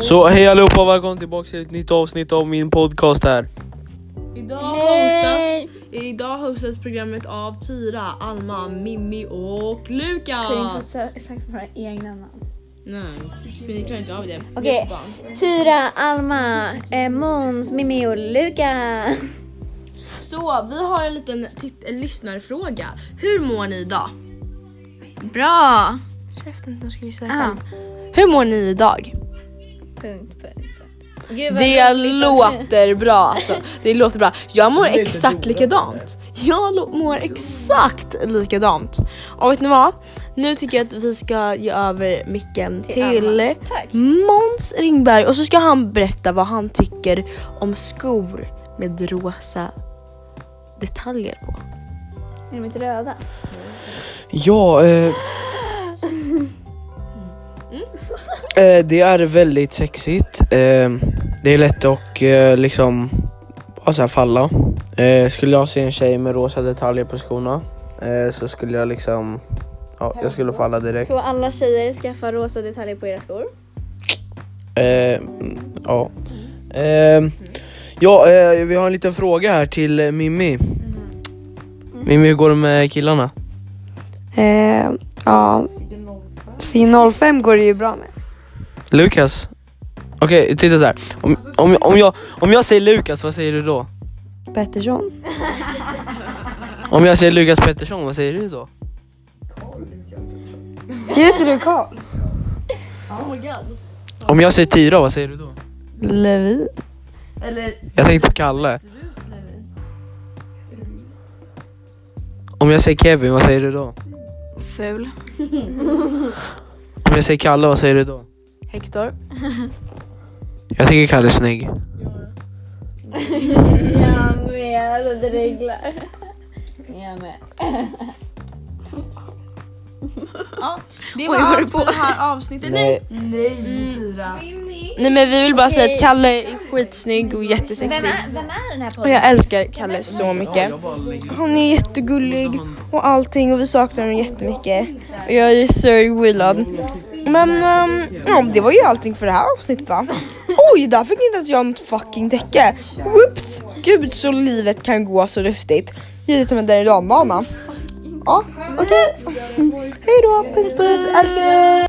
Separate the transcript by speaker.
Speaker 1: Så hej allihopa, välkommen tillbaka till ett nytt avsnitt av min podcast här.
Speaker 2: Idag
Speaker 3: Hej!
Speaker 2: hostas, idag hostas programmet av Tyra, Alma, Mimmi och
Speaker 3: Kunde inte
Speaker 2: Lukas.
Speaker 3: säga exakt våra egna namn.
Speaker 2: Nej, för ni klarar inte av det. Ni är
Speaker 3: Okej.
Speaker 2: på barn.
Speaker 3: Tyra, Alma, eh, Måns, Mimmi och Lukas.
Speaker 2: Så vi har en liten titt- en lyssnarfråga. Hur mår ni idag?
Speaker 3: Bra!
Speaker 2: Käften, de ska vi säga
Speaker 3: Ah,
Speaker 2: Hur mår ni idag?
Speaker 3: punkt, punkt, punkt. Gud, vad
Speaker 2: Det
Speaker 3: roligt att-
Speaker 2: låter bra alltså. Det låter bra. Jag mår
Speaker 1: Det är inte
Speaker 2: exakt
Speaker 1: roligt.
Speaker 2: likadant. Jag lo- mår exakt likadant. Och vet ni vad? Nu tycker jag att vi ska ge över micken till
Speaker 3: Alma. Tack.
Speaker 2: Måns Ringberg och så ska han berätta vad han tycker om skor med rosa detaljer på.
Speaker 3: Är de inte röda?
Speaker 1: Ja, eh, eh, det är väldigt sexigt. Eh, det är lätt att eh, liksom bara så här falla. Eh, skulle jag se en tjej med rosa detaljer på skorna eh, så skulle jag liksom, ja, jag skulle falla direkt.
Speaker 3: Så alla tjejer skaffar rosa detaljer på era skor.
Speaker 1: Eh, mm, ja. Eh, ja, eh, vi har en liten fråga här till eh, Mimmi. Mimmi, hur går det med killarna?
Speaker 4: Eh, ja. C05 går det ju bra med.
Speaker 1: Lukas? Okej, titta så här. Om, om, om, jag, om jag säger Lukas, vad säger du då?
Speaker 4: Pettersson.
Speaker 1: Om jag säger Lukas Pettersson, vad säger du då?
Speaker 4: Heter du Karl?
Speaker 1: Om jag säger Tyra, vad säger du då?
Speaker 4: Levin.
Speaker 1: Jag tänkte på Kalle. Om jag säger Kevin, vad säger du då?
Speaker 4: Ful.
Speaker 1: Om jag säger Kalle, vad säger du då?
Speaker 4: Hector.
Speaker 1: Jag tycker Kalle är snygg.
Speaker 3: Jag med, det reglar. Jag med.
Speaker 2: Det
Speaker 3: var Oj, var allt du på? för det
Speaker 2: här avsnittet.
Speaker 4: Mm. Nej men vi vill bara säga att
Speaker 3: Okej.
Speaker 4: Kalle är skitsnygg och
Speaker 3: Vem
Speaker 4: jättesexig.
Speaker 3: är, vem är den här
Speaker 4: Och
Speaker 3: podden?
Speaker 4: jag älskar Kalle så mycket. Han är jättegullig och allting och vi saknar honom jättemycket. Och jag är så glad. Men ehm, ja, det var ju allting för det här avsnittet va? Oj, där fick inte ens jag mitt fucking täcke. Whoops! Gud så livet kan gå så lustigt. Lite som en berg och dalbana. Ja, okej. Hej då, puss puss, älskar dig!